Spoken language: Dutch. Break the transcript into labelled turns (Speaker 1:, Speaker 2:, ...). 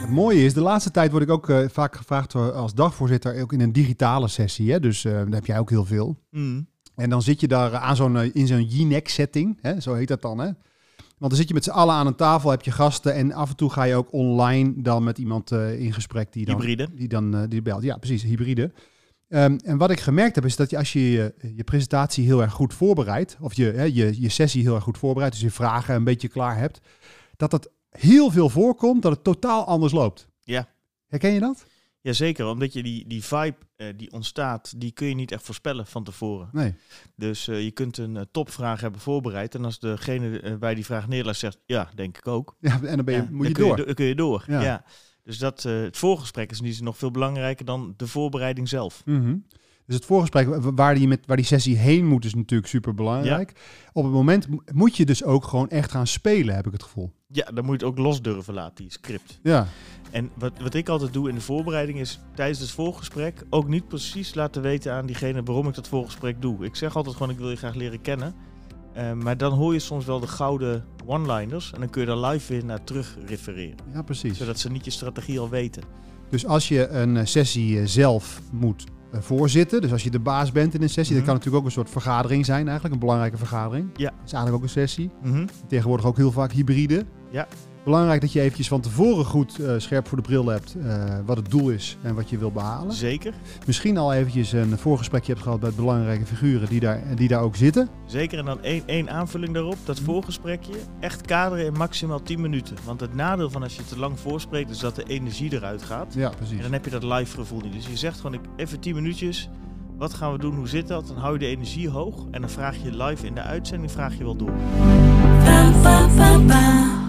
Speaker 1: Het mooie is, de laatste tijd word ik ook eh, vaak gevraagd door- als dagvoorzitter, ook in een digitale sessie. Hè? Dus eh, daar heb jij ook heel veel.
Speaker 2: Mm.
Speaker 1: En dan zit je daar aan zo'n, eh, in zo'n Jinek setting, hè? zo heet dat dan. Hè? Want dan zit je met z'n allen aan een tafel, heb je gasten en af en toe ga je ook online dan met iemand eh, in gesprek die dan,
Speaker 2: Hybride.
Speaker 1: die dan eh, die belt. Ja, precies, hybride. Ehm, en wat ik gemerkt heb is dat je, als je je, je presentatie heel erg goed voorbereidt, of je, hè, je, je sessie heel erg goed voorbereidt, dus je vragen een beetje klaar hebt, dat het heel veel voorkomt dat het totaal anders loopt.
Speaker 2: Ja.
Speaker 1: Herken je dat?
Speaker 2: Jazeker, omdat je die, die vibe eh, die ontstaat, die kun je niet echt voorspellen van tevoren.
Speaker 1: Nee.
Speaker 2: Dus eh, je kunt een eh, topvraag hebben voorbereid. En als degene eh, bij die vraag neerlegt zegt, ja, denk ik ook.
Speaker 1: Ja, en dan ben je,
Speaker 2: Ja,
Speaker 1: moet je
Speaker 2: dan kun
Speaker 1: door.
Speaker 2: do- dan kun je door,
Speaker 1: Ja.
Speaker 2: ja. Dus dat, eh, het voorgesprek is niet nog veel belangrijker dan de voorbereiding zelf.
Speaker 1: Mhm. Dus het voorgesprek, wa- waar die, met, waar die sessie heen moet, is natuurlijk super belangrijk. Op het moment mo- moet je dus ook gewoon echt gaan spelen, heb ik het gevoel.
Speaker 2: Ja, dan moet je het ook los durven laten, die script.
Speaker 1: Ja.
Speaker 2: En wat, wat ik altijd doe in de voorbereiding is tijdens het voorgesprek ook niet precies laten weten aan diegene waarom ik dat voorgesprek doe. Ik zeg altijd gewoon ik wil je graag leren kennen. Eh, maar dan hoor je soms wel de gouden one-liners en dan kun je daar live weer naar terug refereren.
Speaker 1: Ja, precies.
Speaker 2: Zodat ze niet je strategie al weten.
Speaker 1: Dus als je een eh, sessie eh, zelf moet eh, voorzitten, dus als je de baas bent in een sessie, dat
Speaker 2: Mhm.
Speaker 1: kan natuurlijk ook een soort vergadering zijn eigenlijk, een belangrijke vergadering.
Speaker 2: Ja.
Speaker 1: Dat is eigenlijk ook een sessie.
Speaker 2: Mhm.
Speaker 1: Tegenwoordig ook heel vaak hybride.
Speaker 2: Ja.
Speaker 1: Belangrijk dat je eventjes van tevoren goed eh, scherp voor de bril hebt eh, wat het doel is en wat je wil behalen.
Speaker 2: Zeker.
Speaker 1: Misschien al eventjes een voorgesprekje hebt gehad met belangrijke figuren die daar, die daar ook zitten.
Speaker 2: Zeker en dan één, één aanvulling daarop, dat voorgesprekje. Echt kaderen in maximaal 10 minuten. Want het nadeel van als je te lang voorspreekt is dat de energie eruit gaat.
Speaker 1: Ja,
Speaker 2: En
Speaker 1: precies.
Speaker 2: dan heb je dat live gevoel niet. Dus je zegt gewoon ik, even 10 minuutjes. Wat gaan we doen? Hoe zit dat? Dan hou je de energie hoog. En dan vraag je live in de uitzending vraag je wel door.
Speaker 3: Ba, ba, ba, ba.